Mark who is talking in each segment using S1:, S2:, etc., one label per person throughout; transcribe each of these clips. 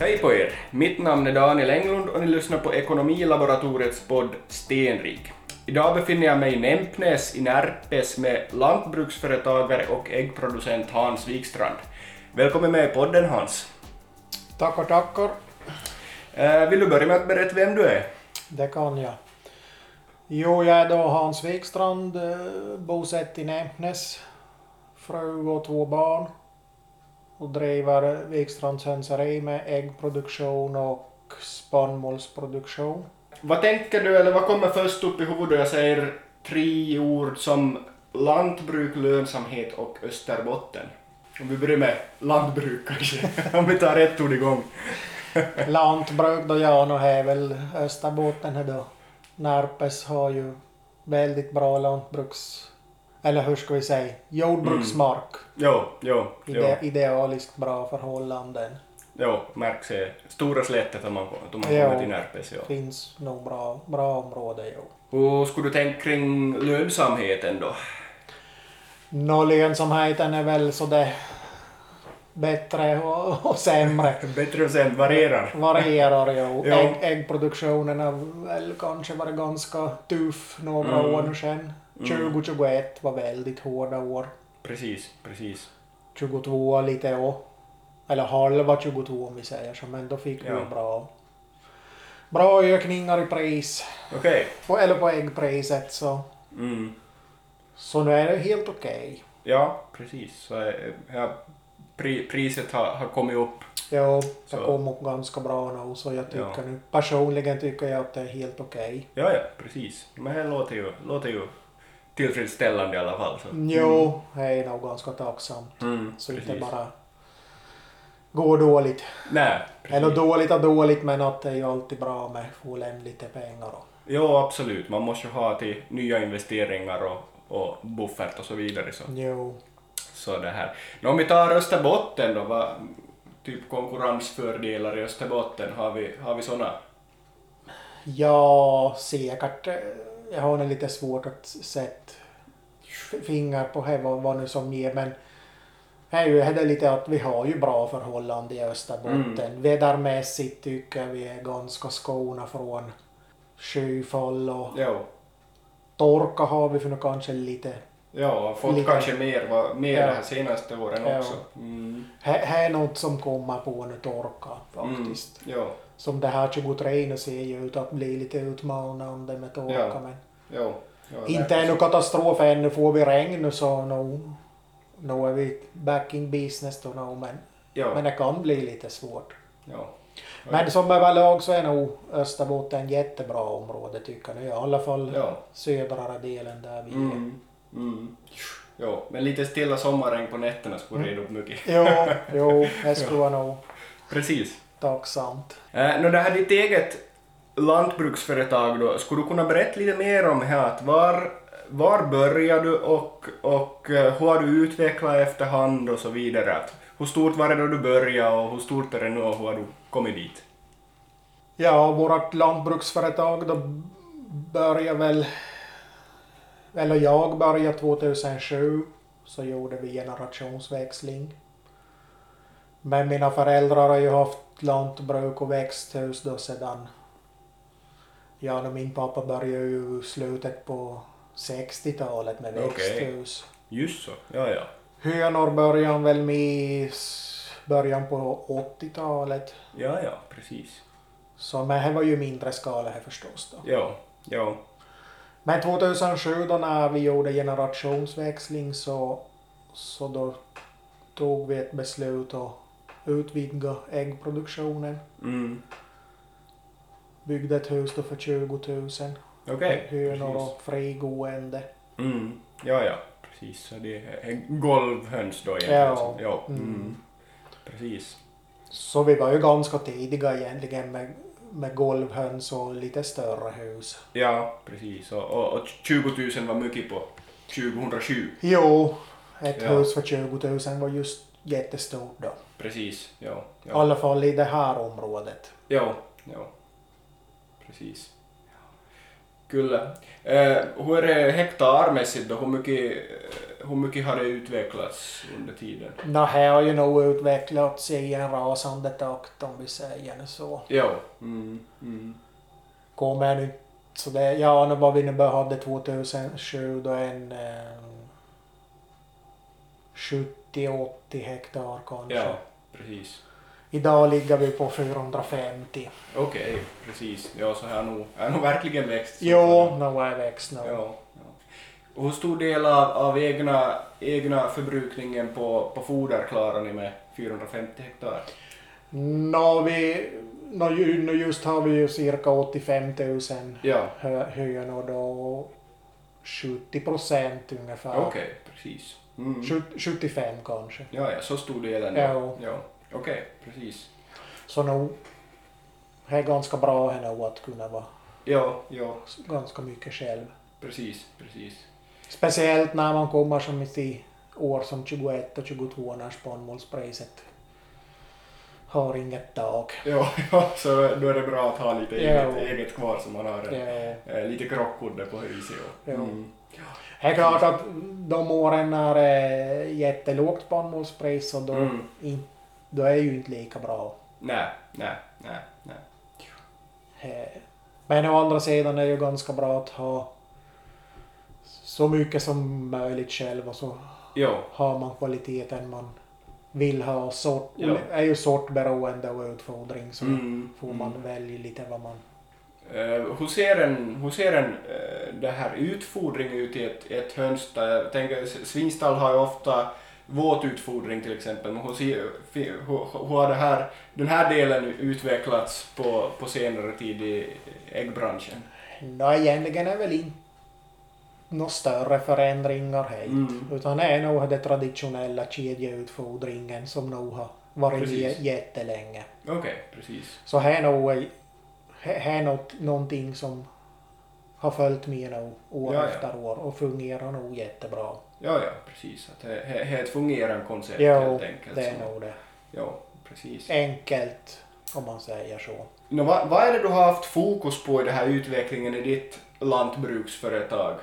S1: Hej på er! Mitt namn är Daniel Englund och ni lyssnar på Ekonomilaboratoriets podd Stenrik. Idag befinner jag mig i Nämpnäs i Närpes med lantbruksföretagare och äggproducent Hans Wikstrand. Välkommen med i podden Hans.
S2: Tackar, tackar.
S1: Eh, Vill du börja med att berätta vem du är?
S2: Det kan jag. Jo, jag är då Hans Wikstrand, eh, bosatt i Nämnäs. Fru och två barn. Och driver Wikstrands hönseri med äggproduktion och spannmålsproduktion.
S1: Vad tänker du, eller vad kommer först upp i huvudet då jag säger tre ord som lantbruk, lönsamhet och Österbotten? Om vi börjar med lantbruk kanske, om vi tar ett ord igång.
S2: Lantbruk då, ja, nu är väl Österbotten här då. Närpes har ju väldigt bra lantbruks... Eller hur ska vi säga? Jordbruksmark.
S1: Jo, jo, jo,
S2: Ide- idealiskt bra förhållanden.
S1: jo märks det. Stora slätet om man, om man
S2: Jo.
S1: kommer till Närpes. Jo.
S2: finns nog bra, bra område. Jo.
S1: Och skulle du tänka kring lönsamheten då?
S2: Nå, lönsamheten är väl så det bättre och, och sämre.
S1: Bättre och sen varierar.
S2: Varierar ju.
S1: Jo.
S2: Ägg, äggproduktionen har väl kanske varit ganska tuff några
S1: Mm.
S2: år sedan. 2021 var väldigt hårda år.
S1: Precis, precis.
S2: 22 lite och Eller halva 22 om vi säger så. Men då fick vi
S1: Ja.
S2: bra, bra ökningar i pris.
S1: Okej.
S2: På, eller på äggpriset så.
S1: Mm.
S2: Så nu är det helt okej.
S1: Ja, precis. Så, eh, ja, pri, priset har, har kommit upp
S2: Ja, det
S1: Så.
S2: kom upp ganska bra nu så jag tycker
S1: Ja.
S2: nu, personligen tycker jag att det är helt okej.
S1: Ja, ja, precis. Men det låter ju, låter ju tillfredsställande i alla fall. Så.
S2: Jo, det är nog ganska tacksamt.
S1: Mm,
S2: Så
S1: precis.
S2: inte bara går dåligt.
S1: Nej, precis.
S2: Eller dåligt och dåligt men att det är ju alltid bra med att få hem lite pengar. och-
S1: Jo, absolut. Man måste ju ha till nya investeringar och, och buffert och så vidare. Så,
S2: Jo.
S1: så det här. Nå, om vi tar Österbotten då, vad, typ konkurrensfördelar i Österbotten, har vi, har vi sådana?
S2: Ja, säkert. eh, Jag har nog lite svårt att sätta f- fingrar på här, vad, vad nu som ger men här är ju här är det lite att vi har ju bra förhållanden i Österbotten.
S1: Mm.
S2: Vädermässigt tycker jag vi är ganska skona från skyfall och
S1: Jo,
S2: torka har vi för nu kanske lite.
S1: ja, har fått
S2: Lite.
S1: kanske mer, vad- mer
S2: Ja.
S1: de här senaste åren
S2: Ja.
S1: också. Mm,
S2: Här, här är något som kommer på nu torka
S1: mm,
S2: faktiskt.
S1: jo,
S2: Som det här 23 nu ser ju ut att bli lite utmanande med torka
S1: Ja.
S2: men
S1: jo, jo,
S2: Inte ännu katastrof ännu. Får vi regn nu så nog no är vi back in business då no, men,
S1: Jo,
S2: men det kan bli lite svårt.
S1: jo.
S2: Men som överlag så är nog Österbotten jättebra område tycker jag. I alla fall
S1: jo.
S2: södra delen där vi är.
S1: Mm. Mm. Jo, men lite stilla sommarregn på nätterna skulle
S2: Mm.
S1: reda upp mycket.
S2: Jo, jo, det skulle vara nog
S1: Precis.
S2: tacksamt.
S1: Äh, nå, det här ditt eget lantbruksföretag då, skulle du kunna berätta lite mer om här att var, var började du och, och eh, hur har du utvecklat efterhand och så vidare? Att, hur stort var det då du började och hur stort är det nu och hur har du kommit dit?
S2: Ja, vårt lantbruksföretag då började väl, eller jag började 2007, så gjorde vi generationsväxling. Men mina föräldrar har ju haft lantbruk och växthus då sedan, ja, när min pappa började ju i slutet på 60-talet med
S1: Okej.
S2: växthus.
S1: Just så, ja ja.
S2: Hönor började han väl med i s- början på 80-talet.
S1: Ja ja, precis.
S2: Så men det var ju mindre skala här förstås då.
S1: Ja, ja.
S2: Men 2007 då när vi gjorde generationsväxling så, så då tog vi ett beslut att utvidga äggproduktionen.
S1: Mm.
S2: Byggde ett hus då för 20 000.
S1: Okej.
S2: Hönor
S1: precis.
S2: och frigående.
S1: Mm. Ja, ja, precis. Så det är golvhöns då egentligen.
S2: Ja.
S1: som- ja. Mm.
S2: Mm.
S1: Precis.
S2: Så vi var ju ganska tidiga egentligen med, med golvhöns och lite större hus.
S1: Ja, precis. Och, och, och 20 000 var mycket på 2007.
S2: Jo, ett
S1: Ja.
S2: hus för 20 000 var just jättestort då.
S1: Precis. Ja,
S2: I
S1: ja.
S2: alla fall i det här området.
S1: ja, ja. Precis. Kyllä. Eh, hur är det hektarmässigt då? Hur mycket, eh, hur mycket har det utvecklats under tiden?
S2: Det här har ju nog utvecklats i en rasande takt om vi säger så.
S1: Ja. Mm, mm.
S2: Kommer nu så det, ja nu var vi nu hade 2007 då en eh, 70-80 hektar kanske.
S1: Ja, precis.
S2: Idag ligger vi på 450.
S1: Okej, precis. Ja, så här nog, här nog verkligen växt. så
S2: Jo, nu är växt nu.
S1: Ja, ja. Och Hur stor del av, av egna, egna förbrukningen på, på foder klarar ni med 450 hektar?
S2: Nå, vi, nå, ju, nå just har vi ju cirka 85 000
S1: Ja,
S2: hö- hönor då och 70 procent ungefär.
S1: okej, precis. Mm.
S2: Sjut- 75 kanske.
S1: Ja, ja, så stor delen.
S2: Ja.
S1: ja. Okej, precis.
S2: Så nog det är ganska bra här nu att kunna vara
S1: Ja, ja,
S2: ganska mycket själv.
S1: precis, precis.
S2: Speciellt när man kommer som i år som 21 och 22 när spannmålspriset har inget tak.
S1: Ja, ja, så då är det bra att ha lite
S2: Ja.
S1: eget, eget kvar som man har eh,
S2: Eh,
S1: eh, lite krockkudde på hur viset.
S2: Ja.
S1: Mm.
S2: Det är klart att de åren när det är jättelågt spannmålspris så då,
S1: Mm.
S2: in, då är det ju inte lika bra.
S1: Nej, nej, nej, nej.
S2: Eh, Men å andra sidan är det ju ganska bra att ha så mycket som möjligt själv och så
S1: Jo,
S2: har man kvaliteten man vill ha. och Sort,
S1: Ja.
S2: är ju sortberoende och utfodring så
S1: Mm,
S2: får man välja lite vad man...
S1: Eh, hur ser en, hur ser en eh, det här utfodring ut i ett, ett höns? där? Jag tänker, s- svinstall har ju ofta våt utfodring till exempel, men hur, ser, fi- hur, hur har det här, den här delen utvecklats på, på senare tid i äggbranschen?
S2: Nå, egentligen är väl inte några större förändringar helt.
S1: Mm.
S2: Utan det är nog den traditionella kedjeutfodringen som nog har varit
S1: Precis.
S2: Precis. jättelänge.
S1: Okej, precis.
S2: Så här är nog här här är något, någonting som har följt med nu år
S1: Ja, ja.
S2: efter år och fungerar nog jättebra.
S1: Ja, ja, precis. Att det det- det är ett fungerande koncept
S2: Jo,
S1: helt enkelt.
S2: det är
S1: Så-
S2: nog det.
S1: Ja, precis.
S2: Enkelt om man säger så.
S1: Nå, vad, vad är det du har haft fokus på i den här utvecklingen i ditt lantbruksföretag?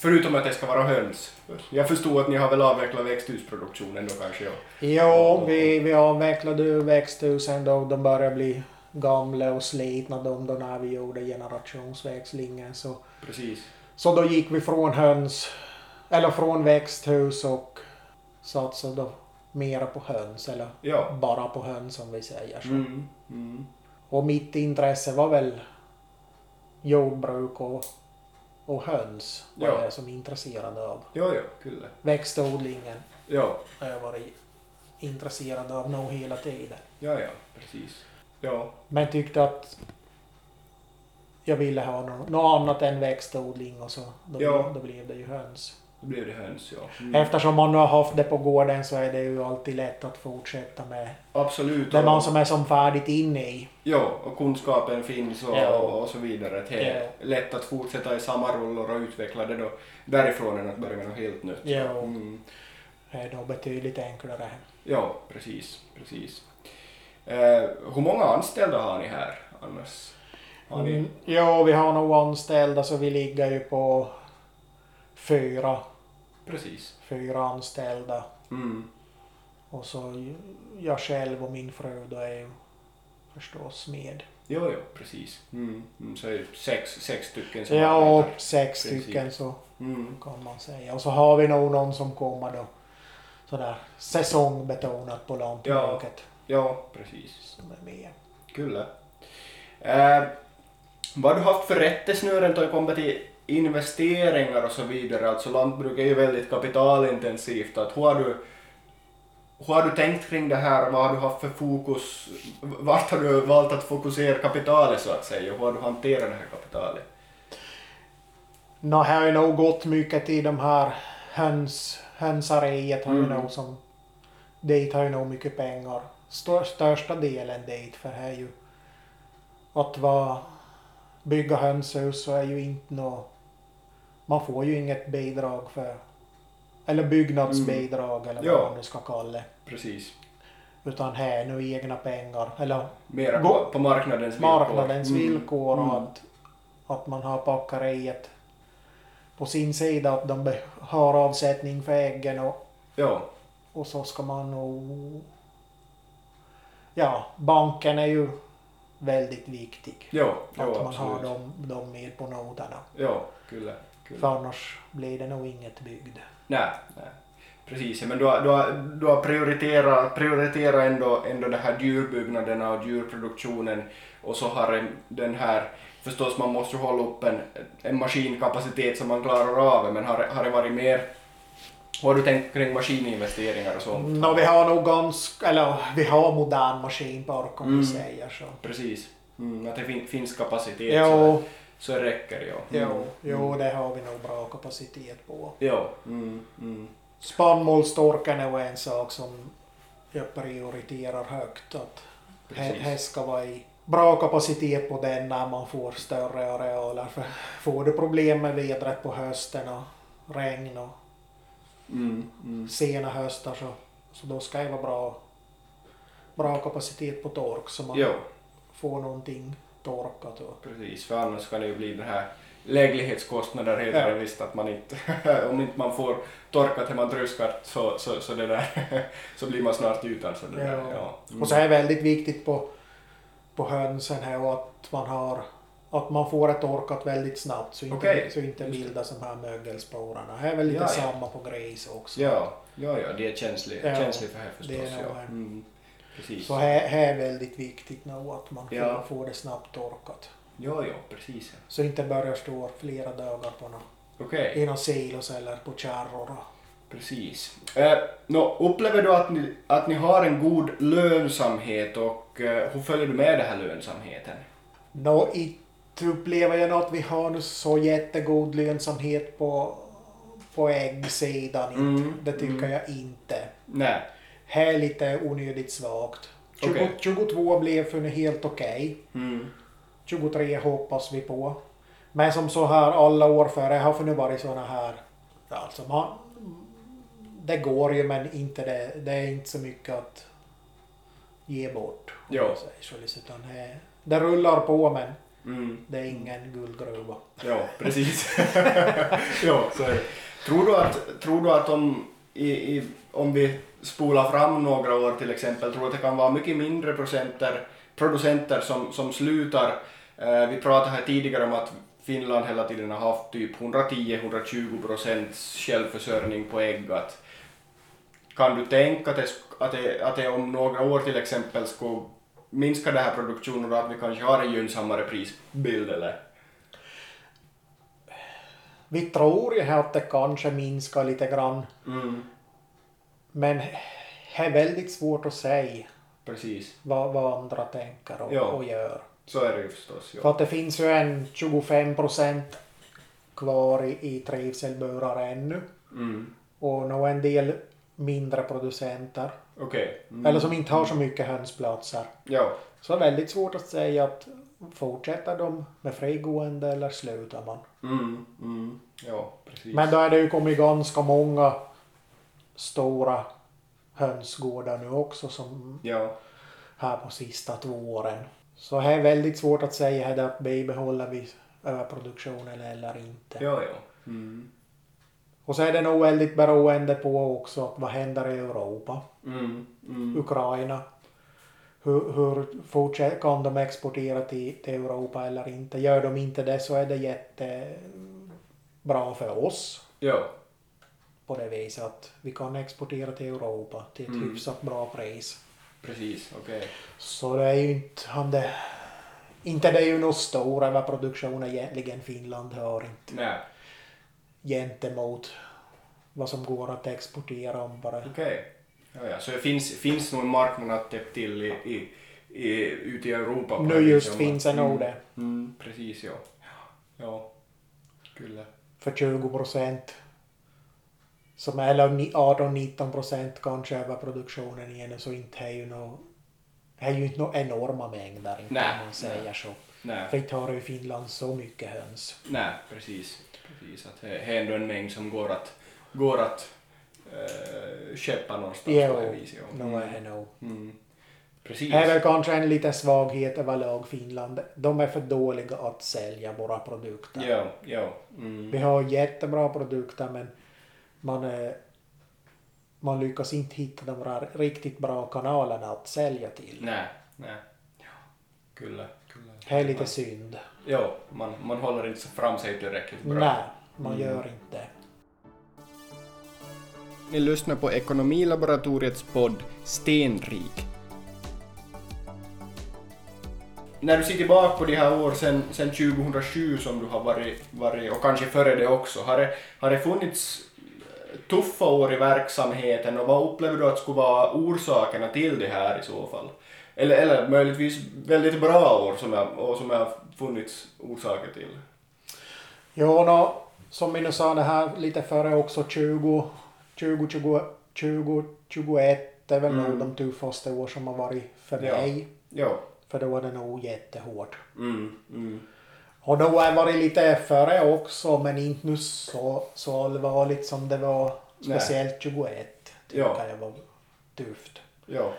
S1: Förutom att det ska vara höns. Jag förstår att ni har väl avvecklat växthusproduktionen då kanske? Ja.
S2: Jo, vi, vi avvecklade ju växthusen då de började bli gamla och slitna de då när vi gjorde generationsväxlingen. Så,
S1: Precis.
S2: så då gick vi från höns, eller från växthus och satsade då mera på höns eller
S1: Ja.
S2: bara på höns som vi säger. så.
S1: Mm. Mm.
S2: Och mitt intresse var väl jordbruk och, och höns var
S1: Ja.
S2: jag som intresserad av.
S1: Ja, ja, kyllä.
S2: Växtodlingen
S1: Ja,
S2: har jag varit intresserad av nog hela tiden.
S1: ja, ja, precis. Ja,
S2: Men tyckte att jag ville ha nå- något annat än växtodling och så. Då,
S1: Ja.
S2: då blev det ju höns.
S1: då blev det höns, ja. Mm.
S2: Eftersom man nu har haft det på gården så är det ju alltid lätt att fortsätta med
S1: Absolut.
S2: det man
S1: och-
S2: som är som färdigt inne i.
S1: Ja, och kunskapen finns och,
S2: Ja.
S1: och, och så vidare. Det är lätt att fortsätta i samma roller och utveckla det då därifrån än att börja med något helt nytt.
S2: Ja.
S1: Mm.
S2: Det är då betydligt enklare.
S1: Ja, precis. precis. Eh, hur många anställda har ni här annars? Har ni?
S2: Mm. Ja, vi har nog anställda så vi ligger ju på fyra,
S1: Precis.
S2: fyra anställda.
S1: Mm.
S2: Och så ju- jag själv och min fru då är ju förstås med.
S1: Jo, jo, precis. Mm. Mm, så är det sex, sex stycken som
S2: Ja,
S1: arbetar.
S2: sex
S1: Precis.
S2: stycken så
S1: Mm.
S2: kan man säga. Och så har vi nog någon som kommer då sådär säsongbetonat på lantbruket
S1: Ja, precis.
S2: som är med.
S1: Kyllä. Eh, vad har du haft för rättesnören då det kommer till investeringar och så vidare? Alltså lantbruk är ju väldigt kapitalintensivt. Att hur, har du, hur har du tänkt kring det här? Vad har du haft för fokus? Vart har du valt att fokusera kapitalet så att säga? Hur har du hanterat det här kapitalet?
S2: Nå, här har ju nog gått mycket till de här höns, hönsariet har ju
S1: Mm.
S2: nog som dit har ju nog mycket pengar. Stör, största delen dit för här är ju att vara, bygga hönshus så är ju inte nå man får ju inget bidrag för eller byggnadsbidrag eller vad
S1: Mm. Ja.
S2: man nu ska kalla det.
S1: Precis.
S2: Utan här är nu egna pengar eller
S1: Mera
S2: Gå-
S1: på, på marknadens villkor.
S2: marknadens
S1: Mm.
S2: villkor och
S1: Mm.
S2: att, Att man har packeriet på sin sida att de be- har avsättning för äggen och,
S1: Ja.
S2: och så ska man nog... Ja, banken är ju väldigt viktig.
S1: Ja, ja
S2: Att man har
S1: absolut.
S2: dem, dem med på noterna.
S1: Ja, kyllä. kyllä.
S2: För annars blir det nog inget byggd.
S1: Nej, nej. Precis, men du har, du har, du har prioriterat, prioriterat ändå, ändå de här djurbyggnaderna och djurproduktionen och så har en- den här, förstås man måste ju hålla upp en, en maskinkapacitet som man klarar av men har, har det varit mer, vad har du tänkt kring maskininvesteringar och sånt?
S2: Nå, vi har nog ganska, eller vi har modern maskinpark om
S1: Mm.
S2: vi säger så.
S1: Precis, mm, att det fin, finns kapacitet så,
S2: Jo,
S1: så det räcker ja. Mm.
S2: jo, jo, det har vi nog bra kapacitet på.
S1: Ja, mm, mm.
S2: Spannmålstorken är nog en sak som jag prioriterar högt. Att
S1: Precis.
S2: här ska vara i bra kapacitet på den när man får större arealer. För får du problem med vädret på hösten och regn och
S1: Mm, mm.
S2: sena höstar så, så då ska det vara bra, bra kapacitet på tork så man
S1: Ja.
S2: får någonting torkat. Och,
S1: Precis, för annars kan det ju bli den här läglighetskostnader heter
S2: Ja.
S1: det visst att man inte, om inte man får torkat hemma tröskat så, så, så, det där, så blir man snart utan. Så det Där,
S2: Ja.
S1: ja. Mm.
S2: och så är det väldigt viktigt på, på hönsen här och att man har att man får ett torkat väldigt snabbt så inte,
S1: Okej,
S2: så inte
S1: just det.
S2: bildas de här mögelsporerna. Här är väl lite
S1: Ja, ja.
S2: samma på grejs också.
S1: ja, ja, ja, det är känsligt
S2: Ja,
S1: känsligt för här förstås.
S2: det är nog
S1: ja.
S2: här.
S1: Mm. Precis.
S2: Så här, här är väldigt viktigt nog att man
S1: Ja.
S2: får, får det snabbt torkat.
S1: Ja, ja, precis.
S2: Så inte börjar stå flera dagar på nå-
S1: Okej,
S2: i några silos eller på kärror. och-
S1: precis. Eh, nå, upplever du att ni, att ni har en god lönsamhet och eh, hur följer du med den här lönsamheten?
S2: Nå, inte upplever jag nog att vi har nu så jättegod lönsamhet på, på äggsidan. inte.
S1: Mm,
S2: Det tycker
S1: mm.
S2: jag inte.
S1: Nej,
S2: Här är lite onödigt svagt. 20,
S1: Okej.
S2: 22 blev för nu helt okej.
S1: mm.
S2: 23 hoppas vi på. Men som så här alla år före har för nu varit såna här... Alltså man, det går ju men inte det, det är inte så mycket att ge bort. om
S1: Ja.
S2: man säger så, liksom, Utan det, det rullar på men
S1: Mm.
S2: det är ingen guldgruva.
S1: Ja, precis. ja, så är det. Tror du att, tror du att om, i, i, om vi spolar fram några år till exempel, tror du att det kan vara mycket mindre procenter, producenter som, som slutar? Eh, vi pratade här tidigare om att Finland hela tiden har haft typ 110-120 procents självförsörjning på ägg. Att, kan du tänka att det, sk- att, det, att det om några år till exempel skulle minska den här produktionen och att vi kanske har en gynnsammare prisbild eller?
S2: Vi tror ju här att det kanske minskar lite grann
S1: Mm.
S2: men det är väldigt svårt att säga
S1: Precis,
S2: vad, vad andra tänker och,
S1: Ja.
S2: och gör.
S1: så är det ju förstås. Ja.
S2: För att det finns ju en 25 procent kvar i, i trivselburar ännu.
S1: Mm.
S2: Och nog en del mindre producenter.
S1: Okej. Mm.
S2: Eller som inte har så mycket hönsplatser.
S1: Ja,
S2: Så det är väldigt svårt att säga att fortsätter de med frigående eller slutar man?
S1: mm. Mm. ja precis.
S2: Men då är det ju kommit ganska många stora hönsgårdar nu också som
S1: Ja,
S2: här på sista två åren. Så här är väldigt svårt att säga här att bibehåller vi överproduktionen eller inte.
S1: ja, ja. Mm.
S2: Och så är det nog väldigt beroende på också att vad händer i Europa,
S1: Mm. Mm.
S2: Ukraina. Hur, hur fortsätt, kan de exportera till, till Europa eller inte? Gör de inte det så är det jättebra för oss
S1: Ja,
S2: på det viset att vi kan exportera till Europa till ett
S1: Mm.
S2: hyfsat bra pris.
S1: precis. Okej.
S2: Så det är ju inte han det... Inte det är ju någon stor överproduktion egentligen Finland har inte
S1: Nej,
S2: gentemot vad som går att exportera om bara
S1: okej. Ja, ja. Så det finns, finns nog en marknad att täppa till i, i, i, ute i Europa? på
S2: Nu
S1: här
S2: just
S1: viset om
S2: finns
S1: att-
S2: en nog det.
S1: Mm. Precis, ja. Ja, kyllä.
S2: för 20 procent. Som är- eller ni- 18-19 procent kanske över produktionen igen så inte är ju nå är ju inte några enorma mängder inte,
S1: Nej,
S2: om man säger
S1: nej.
S2: så.
S1: Nej.
S2: För inte har ju Finland så mycket höns.
S1: Nej, precis. precis. Att det är ändå en mängd som går att, går att eh, köpa någonstans
S2: Jo,
S1: på det viset. ja.
S2: nå är det nog.
S1: Mm. Precis.
S2: är väl kanske en liten svaghet överlag Finland. De är för dåliga att sälja våra produkter.
S1: Ja, ja. Mm.
S2: Vi har jättebra produkter men man, eh, man lyckas inte hitta de där riktigt bra kanalerna att sälja till.
S1: Nej, nej. Ja, Kyllä, kyllä.
S2: Det är lite synd.
S1: Ja, man, man håller inte fram sig tillräckligt bra. Mm.
S2: Nej, man gör inte det.
S1: Ni lyssnar på Ekonomilaboratoriets podd Stenrik. När du ser tillbaka på de här åren sen, sen 2007 som du har varit, varit, och kanske före det också, har det, har det funnits eh, tuffa år i verksamheten och vad upplever du att skulle vara orsakerna till det här i så fall? Eller, eller möjligtvis väldigt bra år som jag, och som jag har funnits orsaker till?
S2: Jo, nå, som vi nu sa det här lite före också, 20, 20, 20, 20 21 är väl nog de tuffaste år som har varit för
S1: Mm. Ja.
S2: mig.
S1: Ja.
S2: För då var det nog jättehårt.
S1: Mm, mm.
S2: Och då har jag varit lite före också, men inte nu så, så allvarligt som det var.
S1: Nej.
S2: Speciellt 21 tycker
S1: Ja.
S2: jag var tufft.
S1: Ja.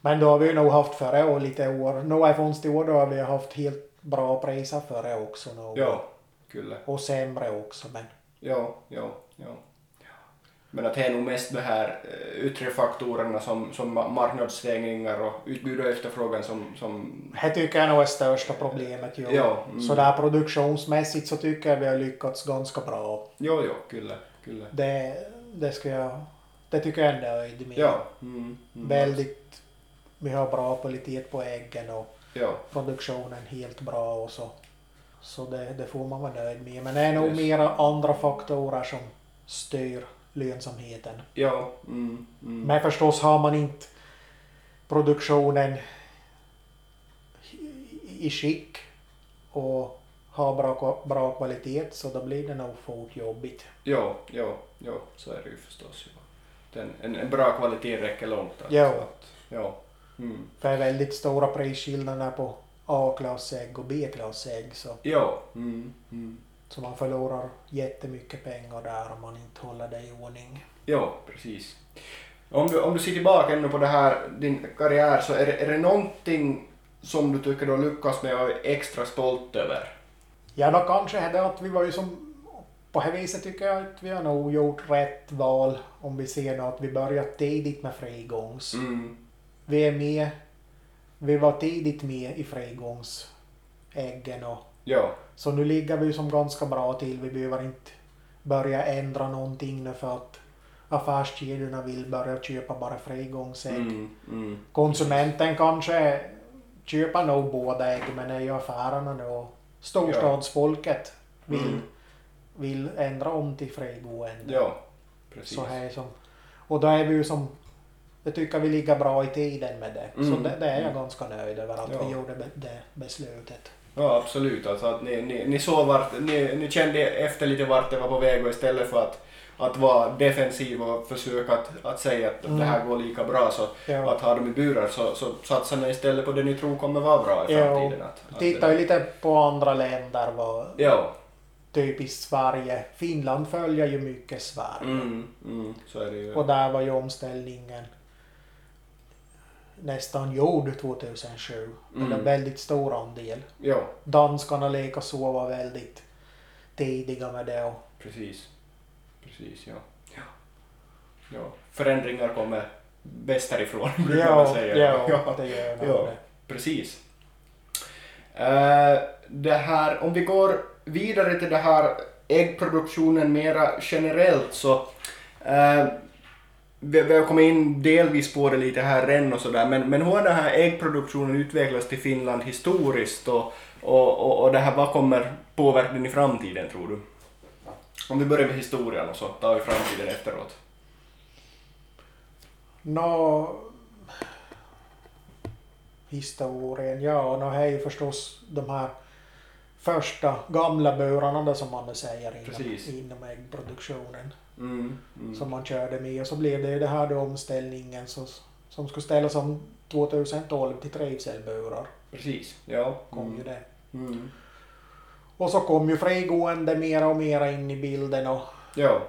S2: Men då har vi nog haft före och lite år. Några konstiga år då har vi haft helt bra priser före också. Nog.
S1: Ja. Kyllä.
S2: Och sämre också. Men
S1: Ja, ja, ja. Men att det är nog mest de här eh, yttre faktorerna som, som ma- marknadssvängningar och utbud och efterfrågan som, som
S2: det tycker jag nog är största problemet. Jo.
S1: Ja, mm.
S2: Så där produktionsmässigt så tycker jag vi har lyckats ganska bra.
S1: jo, jo, kyllä, kyllä.
S2: Det, det, ska jag, det tycker jag är nöjd med.
S1: Ja, mm, mm,
S2: Väldigt, vi har bra kvalitet på äggen och
S1: ja,
S2: produktionen helt bra och så. Så det, det får man vara nöjd med. Men det är nog
S1: Yes.
S2: mera andra faktorer som styr lönsamheten.
S1: ja, mm, mm,
S2: Men förstås har man inte produktionen i- i skick och har bra, kva- bra kvalitet så då blir det nog fort jobbigt.
S1: ja, ja, ja, så är det ju förstås. Ja. Den, en, en bra kvalitet räcker långt. Alltså,
S2: Ja.
S1: Att, ja. Mm.
S2: För det är väldigt stora prisskillnader på A-klassägg och B-klassägg så,
S1: Ja. Mm, mm.
S2: så man förlorar jättemycket pengar där om man inte håller det i ordning.
S1: Ja, precis. Om du, om du ser tillbaka ännu på det här, din karriär, så är det, är det någonting som du tycker du har lyckats med och är extra stolt över?
S2: Ja, då kanske är det att vi var ju som... På det viset tycker jag att vi har nog gjort rätt val om vi ser nu att vi börjat tidigt med frigångs.
S1: Mm.
S2: Vi är med... Vi var tidigt med i frigångsäggen och...
S1: Ja,
S2: Så nu ligger vi ju som ganska bra till. Vi behöver inte börja ändra någonting nu för att affärskedjorna vill börja köpa bara frigångsägg.
S1: mm, mm,
S2: Konsumenten kanske köper nog båda ägg men det är ju affärerna nu och storstadsfolket vill,
S1: Mm.
S2: vill ändra om till frigående.
S1: ja, precis.
S2: så här som, och då är vi ju som, jag tycker vi ligger bra i tiden med det. Så
S1: Mm.
S2: det, det är jag
S1: Mm.
S2: ganska nöjd över att
S1: Ja.
S2: vi gjorde be- det beslutet.
S1: Ja, absolut. Alltså att ni, ni, ni såg vart, ni, ni kände efter lite vart det var på väg och istället för att, att vara defensiv och försöka att, att säga att
S2: Mm.
S1: det här går lika bra så
S2: Ja.
S1: att ha dem i burar så, så satsar ni istället på det ni tror kommer vara bra i
S2: Ja,
S1: framtiden. Att, att
S2: Tittar ju lite på andra länder, vad,
S1: Ja,
S2: typiskt Sverige. Finland följer ju mycket Sverige.
S1: mm, mm, så är det ju.
S2: Och där var ju omställningen nästan gjord 2007.
S1: Mm.
S2: Eller väldigt stor andel.
S1: Ja,
S2: Danskarna likaså var väldigt tidiga med det. Och,
S1: Precis. Precis, ja. ja. ja. Förändringar kommer västerifrån, brukar man säga.
S2: ja, det gör nog
S1: ja.
S2: det.
S1: Precis. Eh, det här, om vi går vidare till det här äggproduktionen mera generellt så eh, vi, vi har kommit in delvis på det lite här redan och sådär men, men hur har den här äggproduktionen utvecklats till Finland historiskt och, och, och, och det här, vad kommer påverkan i framtiden tror du? Om vi börjar med historien och så tar vi framtiden efteråt.
S2: Nå... Historien, ja, nå är ju förstås de här första gamla burarna då, som man nu säger inom,
S1: Precis.
S2: inom äggproduktionen.
S1: Mm, mm.
S2: som man körde med. Och så blev det ju det här då omställningen som, som skulle ställas om 2012 till trivselburar.
S1: Precis, ja.
S2: Kom ju det.
S1: Mm.
S2: Och så kom ju frigående mera och mera in i bilden och
S1: Ja.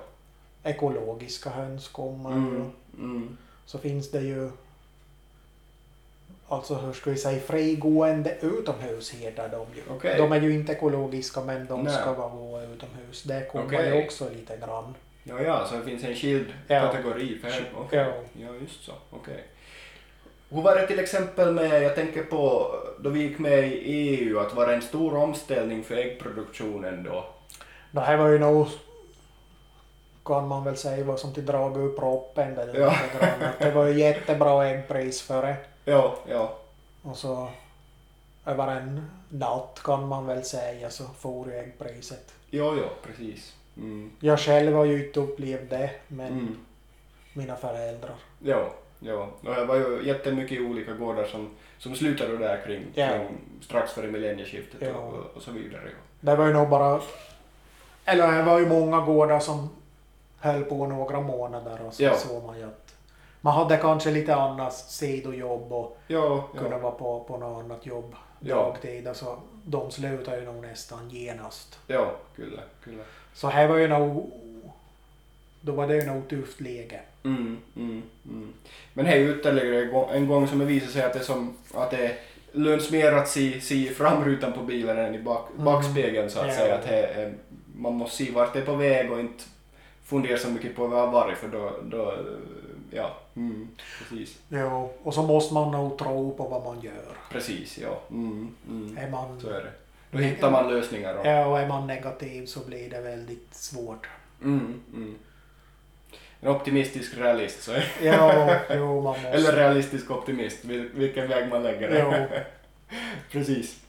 S2: ekologiska höns kommer.
S1: Mm,
S2: och
S1: mm.
S2: Så finns det ju alltså hur ska vi säga, frigående utomhushirdar de ju.
S1: Okej.
S2: De är ju inte ekologiska men de
S1: Nej.
S2: ska vara utomhus. Det kommer
S1: Okej.
S2: ju också lite grann.
S1: Ja, ja, så det finns en skild
S2: Ja.
S1: kategori för
S2: Sk-
S1: Eh, okej.
S2: ja.
S1: Ja, just så. Okej. Hur var det till exempel med, jag tänker på då vi gick med i EU, att var det en stor omställning för äggproduktionen då?
S2: Det här var ju nog, kan man väl säga, vad som till drag ur proppen. Det,
S1: Ja.
S2: lite grann. Att det var ju jättebra äggpris före.
S1: Ja, ja.
S2: Och så över en natt kan man väl säga så for ju äggpriset.
S1: Ja, ja, precis. Mm.
S2: Jag själv har ju inte upplevt det men
S1: Mm.
S2: mina föräldrar.
S1: Ja, ja. Och det var ju jättemycket olika gårdar som, som slutade där kring,
S2: Ja.
S1: kring strax före millennieskiftet
S2: Ja.
S1: och, och så vidare. ja.
S2: Det var ju nog bara... Eller det var ju många gårdar som höll på några månader och så
S1: Ja.
S2: såg man ju att man hade kanske lite annat sidojobb och
S1: Ja,
S2: kunde
S1: ja.
S2: vara på, på något annat jobb
S1: Ja.
S2: dagtid. Alltså, de slutade ju nog nästan genast.
S1: Ja, kyllä, kyllä.
S2: Så här var ju nog... Då var det ju nog tufft läge.
S1: Mm, mm, mm. Men det är ju ytterligare gå- en gång som det visar sig att det, som, att det löns mer att se, se i framrutan på bilen än i bak,
S2: Mm.
S1: backspegeln så att
S2: Ja.
S1: säga. Att det, är- man måste se vart det är på väg och inte fundera så mycket på vad det har varit för då, då ja, mm, precis.
S2: Ja, och så måste man nog tro på vad man gör.
S1: Precis, ja. Mm, mm.
S2: Är man,
S1: Så är det. Då hittar man lösningar. Och...
S2: ja, och är man negativ så blir det väldigt svårt.
S1: Mm, mm. En optimistisk realist, så är...
S2: Ja, jo, man måste.
S1: eller realistisk optimist, vil- vilken väg man lägger det.
S2: Jo.
S1: Precis.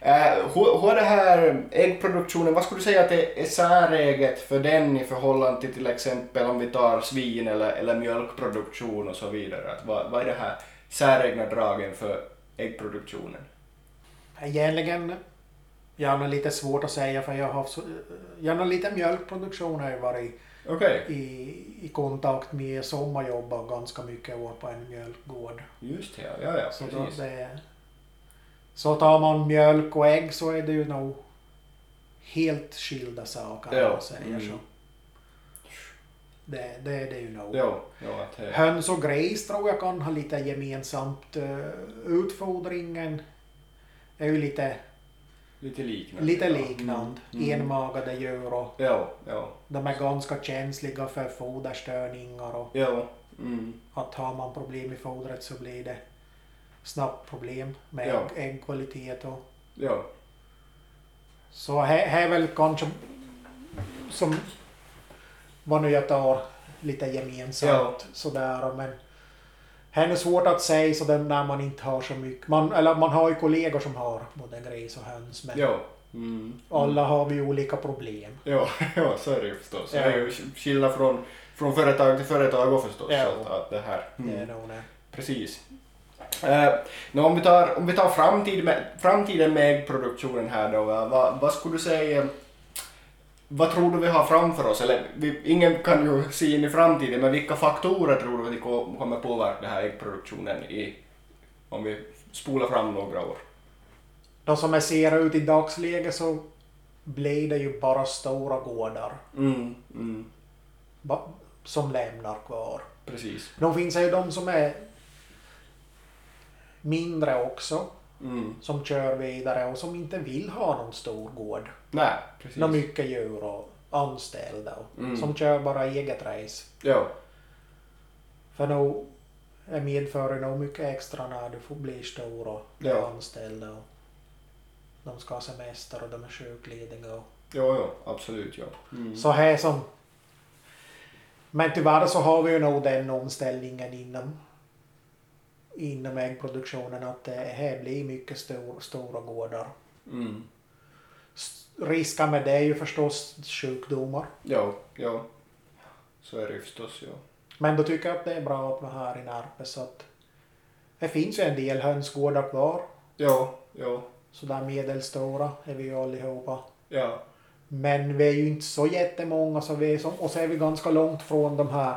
S1: Eh, hur, hur är det här äggproduktionen, vad skulle du säga att det är säreget för den i förhållande till till exempel om vi tar svin eller, eller mjölkproduktion och så vidare? Att vad, vad är det här säregna dragen för äggproduktionen?
S2: Egentligen, jag har nog lite svårt att säga för jag har, så, jag har nog lite mjölkproduktion har jag varit
S1: Okej,
S2: i, i kontakt med sommarjobbar ganska mycket år på en mjölkgård.
S1: just det, ja, ja,
S2: Så, då,
S1: precis.
S2: det, så tar man mjölk och ägg så är det ju nog helt skilda saker
S1: Ja,
S2: om man säger
S1: mm.
S2: så. Det, det är det ju nog.
S1: Ja, ja, att det...
S2: Höns och gris tror jag kan ha lite gemensamt. eh, Utfodringen är ju lite
S1: Lite liknande.
S2: Lite
S1: ja.
S2: liknande.
S1: Mm. Mm.
S2: Enmagade djur och
S1: Ja, ja,
S2: de är ganska känsliga för foderstörningar och
S1: ja. Mm.
S2: att har man problem i fodret så blir det snabbt problem med
S1: Ja.
S2: äggkvalitet och
S1: Ja,
S2: så här här är väl kanske som vad nu jag tar lite gemensamt sådär men här är nog svårt att säga så den när man inte har så mycket. Man, eller man har ju kollegor som har både gris och höns men
S1: ja. Mm.
S2: alla har vi olika problem.
S1: Ja, ja, så är det ju förstås.
S2: Ja.
S1: Det är ju skillnad från, från företag till företag och förstås.
S2: Ja.
S1: Att, att det här. Mm.
S2: Det är nog det.
S1: Precis. Eh, nå, om vi tar, om vi tar framtid med, framtiden med äggproduktionen här då. va- Vad, vad skulle du säga vad tror du vi har framför oss? Eller vi, ingen kan ju se in i framtiden, men vilka faktorer tror du att det ko- kommer påverka den här äggproduktionen i, om vi spolar fram några år?
S2: De som jag ser ut i dagsläget så blir det ju bara stora gårdar
S1: Mm, mm,
S2: ba- som lämnar kvar.
S1: precis.
S2: De finns det ju de som är mindre också,
S1: Mm.
S2: som kör vidare och som inte vill ha någon stor gård.
S1: Nej, precis.
S2: Några mycket djur och anställda och
S1: Mm.
S2: som kör bara eget race.
S1: Ja,
S2: För nog är medför det nog mycket extra när du får bli stor och
S1: Ja.
S2: anställda och de ska ha semester och de är sjuklediga och
S1: ja, ja, absolut ja. Mm.
S2: Så här som... Men tyvärr så har vi ju nog den omställningen inom inom äggproduktionen att det här blir mycket stor, stora gårdar.
S1: Mm.
S2: S- Risken med det är ju förstås sjukdomar.
S1: Ja, ja. Så är det ju förstås ja.
S2: Men då tycker jag att det är bra att man här i Närpe så att det finns ju en del hönsgårdar kvar.
S1: Ja, ja,
S2: Så där medelstora är vi ju allihopa.
S1: ja.
S2: Men vi är ju inte så jättemånga så vi är som, och så är vi ganska långt från de här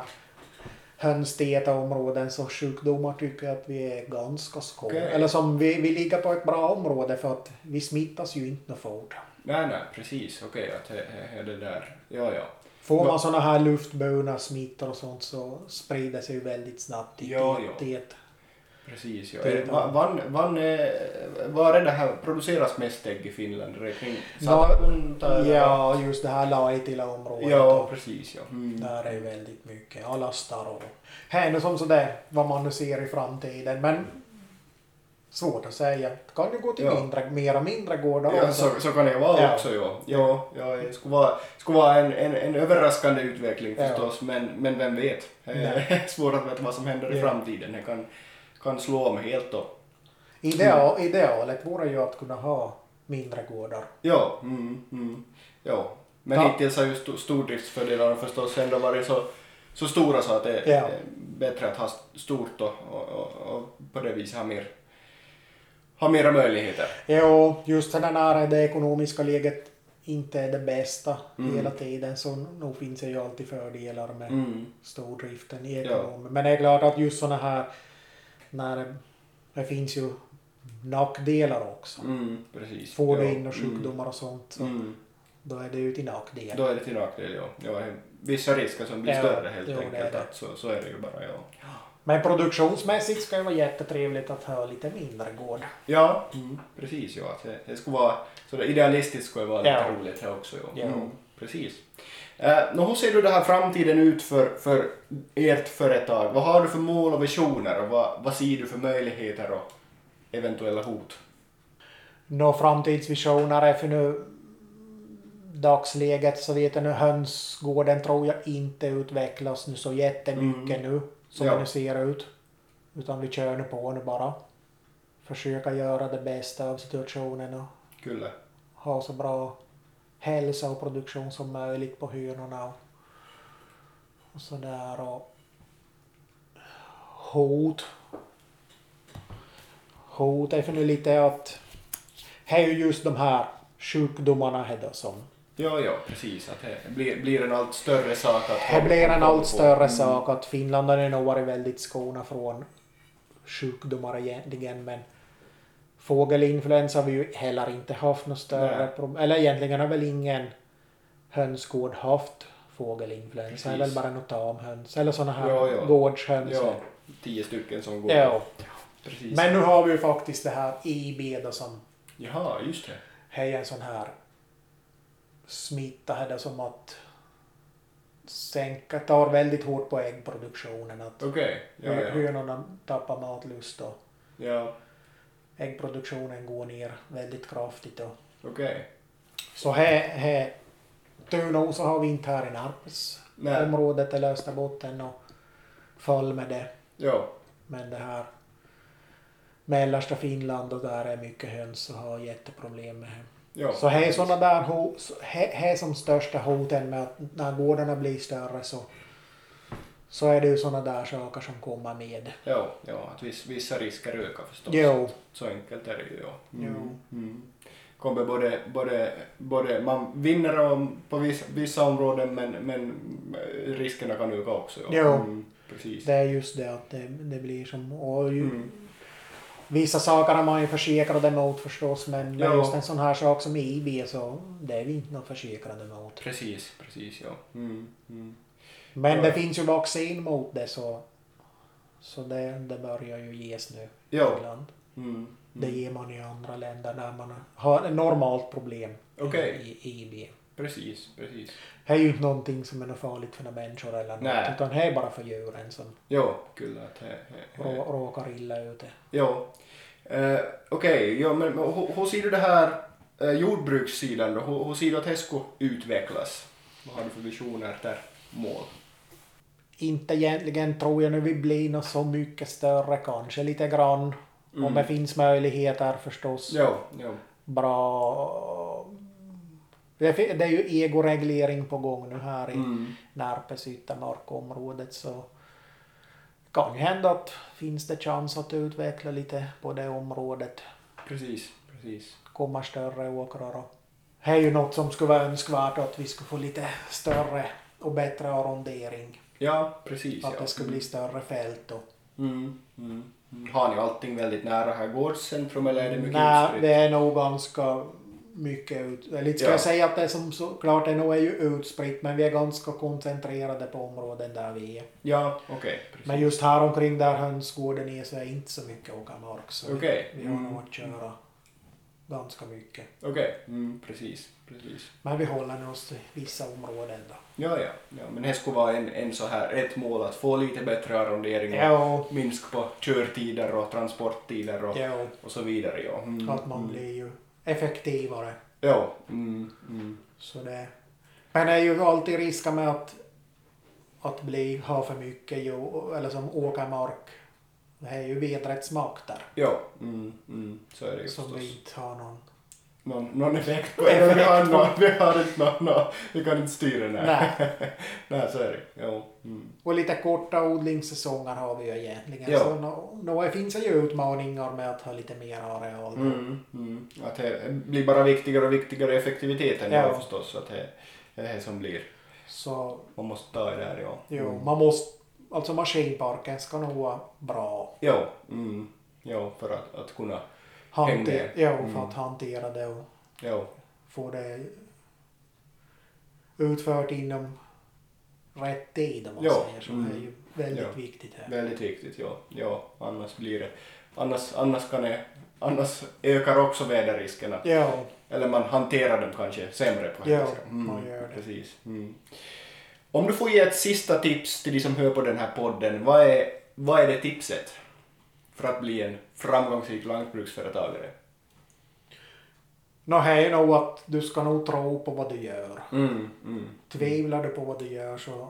S2: hönstäta områden så sjukdomar tycker jag att vi är ganska skå.
S1: Okej.
S2: Eller som vi, vi ligger på ett bra område för att vi smittas ju inte något fort.
S1: Nej, nej, precis. Okej, att det är det där. Ja, ja.
S2: Får
S1: Va-
S2: man sådana här luftburna smittor och sånt så sprider sig ju väldigt snabbt i
S1: Ja,
S2: det-
S1: ja.
S2: det
S1: Precis, ja.
S2: Det-
S1: Eh, va- Vann, vann, eh, var är det här, produceras mest ägg i Finland? Är det kring
S2: Nå,
S1: Satakunta?
S2: Ja, just det här Laitila-området.
S1: ja, precis ja. Mm.
S2: Där är ju väldigt mycket. Alla star och hände som sådär vad man nu ser i framtiden. Men svårt att säga. Kan ju gå till
S1: Ja.
S2: mindre, mera mindre gårdar
S1: Ja,
S2: också.
S1: så, så kan det vara
S2: Ja.
S1: också, ja. ja, ja det skulle vara, skulle vara en, en, en överraskande utveckling
S2: Ja.
S1: förstås, men, men vem vet?
S2: Nej.
S1: Eh, Svårt att veta vad som händer i
S2: Ja.
S1: framtiden. Det kan, kan slå om helt då.
S2: Ideal, idealet vore ju att kunna ha mindre gårdar.
S1: Ja, mm, mm, ja. Men
S2: Ja.
S1: hittills har ju sto- stordriftsfördelarna förstås ändå varit så, så stora så att det
S2: Ja.
S1: är bättre att ha st- stort och, och, och, och på det viset ha, mer, ha mera möjligheter.
S2: Jo, just sådana när det ekonomiska läget inte är det bästa
S1: Mm.
S2: hela tiden så nog finns det ju alltid fördelar med
S1: Mm.
S2: stordriften
S1: Ja.
S2: i ekonomin. Men det är klart att just sådana här när det, det finns ju nackdelar också.
S1: Mm, precis.
S2: Får du
S1: Ja,
S2: in och sjukdomar och sånt så
S1: Mm, mm.
S2: då är det ju till nackdel.
S1: Då är det till nackdel, ja. ja. Vissa risker som blir
S2: Ja,
S1: större helt
S2: jo, det är
S1: enkelt.
S2: det.
S1: Att så, så är det ju bara, ja.
S2: Men produktionsmässigt ska det vara jättetrevligt att ha lite mindre gård.
S1: Ja, mm, precis. Ja. Att Det, det skulle vara, så det idealistiskt skulle vara lite
S2: Ja.
S1: roligt här också. Ja.
S2: Ja.
S1: Mm, precis. Eh, nå, hur ser du det här framtiden ut för, för ert företag? Vad har du för mål och visioner och vad, vad ser du för möjligheter och eventuella hot?
S2: Nå framtidsvisioner är för nu dagsläget så vet jag nu hönsgården tror jag inte utvecklas nu så jättemycket nu som
S1: Ja.
S2: det nu ser ut. Utan vi kör nu på nu bara. Försöka göra det bästa av situationen och
S1: Kyllä.
S2: ha så bra hälsa och produktion som möjligt på hönorna och, och sådär och hot. Hot är för nu lite att det är ju just de här sjukdomarna här då som
S1: Ja, ja, precis. Att det blir, blir en allt större sak att
S2: det
S1: hålla-
S2: blir en
S1: hålla
S2: allt
S1: på. Mm.
S2: större sak att Finland har ju nog varit väldigt skona från sjukdomar egentligen men fågelinfluensa har vi ju heller inte haft något större
S1: Nej.
S2: problem. Eller egentligen har väl ingen hönsgård haft fågelinfluensa. Det är väl
S1: Precis.
S2: bara något tamhöns eller sådana här
S1: Ja, ja.
S2: gårdshöns.
S1: Ja, tio stycken som går.
S2: Ja.
S1: Precis.
S2: Men nu har vi ju faktiskt det här IB då som
S1: Jaha, just det.
S2: är en sån här smitta här då som att sänka, tar väldigt hårt på äggproduktionen. Att
S1: Okej. Ja,
S2: Hö-
S1: ja.
S2: Hönorna tappar matlust och
S1: ja,
S2: äggproduktionen går ner väldigt kraftigt. Och.
S1: okej.
S2: Så här, här, tur nog så har vi inte här i Närpes
S1: Nej.
S2: området eller Österbotten och fall med det.
S1: Ja,
S2: Men det här mellersta Finland och där är mycket höns och har jätteproblem med det.
S1: ja.
S2: Så här är sådana där ho- så- här här är som största hoten med att när gårdarna blir större så, så är det ju sådana där saker som kommer med.
S1: Ja, ja att viss, vissa risker ökar förstås.
S2: Jo.
S1: Så enkelt är det ju. Ja.
S2: Jo.
S1: Mm. Kommer både, både, både, man vinner om, på vissa, vissa områden men, men eh, riskerna kan öka också. Ja.
S2: Jo.
S1: Mm, precis.
S2: Det är just det att det, det blir som... Och ju,
S1: Mm.
S2: Vissa saker har man ju försäkrade mot förstås men, men
S1: Ja.
S2: just en sån här sak som IB så det är vi inte någon försäkrade mot.
S1: Precis, precis ja. Mm, mm.
S2: Men
S1: Ja.
S2: det finns ju vaccin mot det så så det, det börjar ju ges nu i
S1: Ja.
S2: Finland.
S1: Mm.
S2: Det ger man i andra länder där man har ett normalt problem
S1: Okej.
S2: i i IB.
S1: Precis, precis.
S2: Det är ju inte någonting som är något farligt för några människor eller något
S1: Nej.
S2: utan det är bara för djuren som
S1: Ja, kyllä. Att, he, he, he.
S2: rå, råkar illa ut.
S1: Ja. Eh, Okej, ja, men men hur hur ser du det här eh, jordbrukssidan då? Hur, hur ser du att det ska utvecklas? Vad har du för visioner där? Mål?
S2: inte egentligen tror jag nu vi blir något så mycket större kanske lite grann. Om
S1: Mm.
S2: det finns möjligheter förstås.
S1: Ja, ja.
S2: Bra. Det fi- det är ju egoreglering på gång nu här i
S1: Mm.
S2: Närpes yttermarkområdet så kan ju hända att finns det chans att utveckla lite på det området.
S1: Precis, precis.
S2: Komma större åkrar och det är ju något som skulle vara önskvärt att vi skulle få lite större och bättre arrondering.
S1: Ja, precis.
S2: Att
S1: ja.
S2: det skulle bli större fält och
S1: Mm, mm, mm. Har ni allting väldigt nära här gårdscentrum eller är det mycket
S2: Nej,
S1: utspritt?
S2: det är nog ganska mycket ut. Eller inte ska
S1: Ja.
S2: jag säga att det som såklart är nog är ju utspritt men vi är ganska koncentrerade på områden där vi är.
S1: Ja, okej. precis.
S2: Men just här omkring där hönsgården är så är inte så mycket åka mark så vi-
S1: Okej.
S2: vi har nog
S1: Mm.
S2: att köra ganska mycket.
S1: Okej, mm, precis. precis.
S2: Men vi håller oss till vissa områden då.
S1: Ja, ja, ja. Men det skulle vara en, en så här, ett mål att få lite bättre arrondering och
S2: Ja,
S1: minsk på körtider och transporttider och,
S2: ja,
S1: och så vidare. Ja. Mm,
S2: att man
S1: mm.
S2: blir ju effektivare.
S1: Ja. Mm, mm.
S2: Så det, men det är ju alltid risken med att, att bli, ha för mycket jo, eller som åkermark. Det är ju vädrets makt där.
S1: Ja, mm, mm, så är det ju
S2: Som vi
S1: förstås.
S2: inte har någon...
S1: Någon, någon effekt på
S2: Effekt
S1: Vi har,
S2: på-
S1: någon, vi har inte någon, någon, vi kan inte styra den här.
S2: Nej.
S1: Nej, så är det. Ja, mm.
S2: Och lite korta odlingssäsonger har vi ju egentligen.
S1: Ja.
S2: Så nå, nå finns det ju utmaningar med att ha lite mer areal.
S1: Mm, mm. Att det blir bara viktigare och viktigare effektiviteten
S2: Ja.
S1: ja. förstås. Att det det är det som blir,
S2: Så
S1: man måste ta i det här. Ja,
S2: jo,
S1: Mm.
S2: man måste... Alltså maskinparken ska nog vara bra.
S1: ja, mm. ja för att, att kunna, Häng
S2: Hanter,
S1: med.
S2: jo,
S1: Mm.
S2: för att hantera det och
S1: ja,
S2: få det utfört inom rätt tid om man
S1: Ja,
S2: säger så.
S1: mm.
S2: Det är ju väldigt
S1: Ja.
S2: viktigt här.
S1: väldigt viktigt. Ja, ja annars blir det, annars, annars kan det, annars ökar också väderriskerna.
S2: Ja,
S1: Eller man hanterar dem kanske sämre på
S2: Ja,
S1: hemmaplan.
S2: man gör det.
S1: Precis. Mm. Om du får ge ett sista tips till de som hör på den här podden, vad är, vad är det tipset för att bli en framgångsrik lantbruksföretagare?
S2: nå här är nog att du ska nog tro på vad du gör.
S1: Mm, mm.
S2: Tvivlar du på vad du gör så,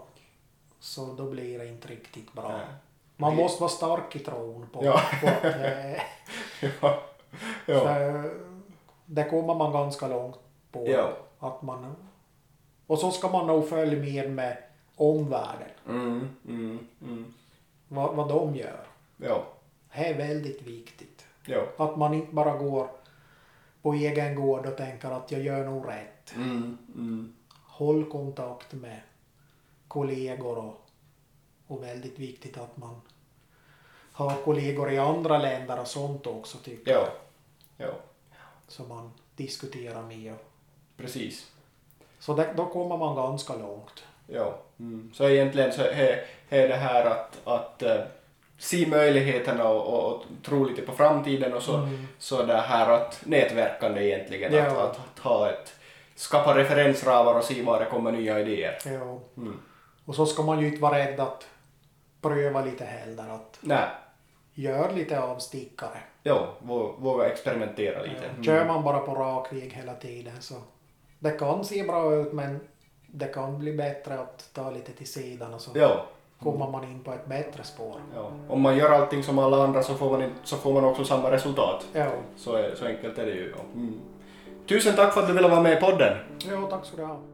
S2: så då blir det inte riktigt bra.
S1: Nej.
S2: Man
S1: Det-
S2: måste vara stark i tron på,
S1: Ja.
S2: på att det,
S1: ja. ja.
S2: för det kommer man ganska långt på.
S1: Ja.
S2: Att man, och så ska man nog följa med med omvärlden,
S1: Mm, mm, mm.
S2: vad, vad de gör.
S1: ja.
S2: Det är väldigt viktigt.
S1: Ja.
S2: Att man inte bara går på egen gård och tänker att jag gör nog rätt.
S1: Mm, mm.
S2: Håll kontakt med kollegor och, och väldigt viktigt att man har kollegor i andra länder och sånt också tycker
S1: ja.
S2: jag.
S1: Ja.
S2: Som man diskuterar med.
S1: Precis.
S2: Så där, då kommer man ganska långt.
S1: Ja. Mm. Så egentligen så är, är det här att, att eh, se möjligheterna och, och, och tro lite på framtiden och så,
S2: Mm.
S1: så det här att nätverkande egentligen,
S2: Ja.
S1: att, att, att ha ett, skapa referensramar och se var det kommer nya idéer.
S2: Ja.
S1: Mm.
S2: Och så ska man ju inte vara rädd att pröva lite heller. Att
S1: Nej,
S2: gör lite avstickare.
S1: ja, vå- våga experimentera lite.
S2: Ja, Kör man bara på rak väg hela tiden så det kan se bra ut men det kan bli bättre att ta lite till sidan och så
S1: Ja,
S2: kommer man in på ett bättre spår.
S1: ja. Om man gör allting som alla andra så får man, in- så får man också samma resultat.
S2: Ja,
S1: Så, är, så enkelt är det ju. ja. Mm. Tusen tack för att du ville vara med i podden.
S2: ja tack så du ha.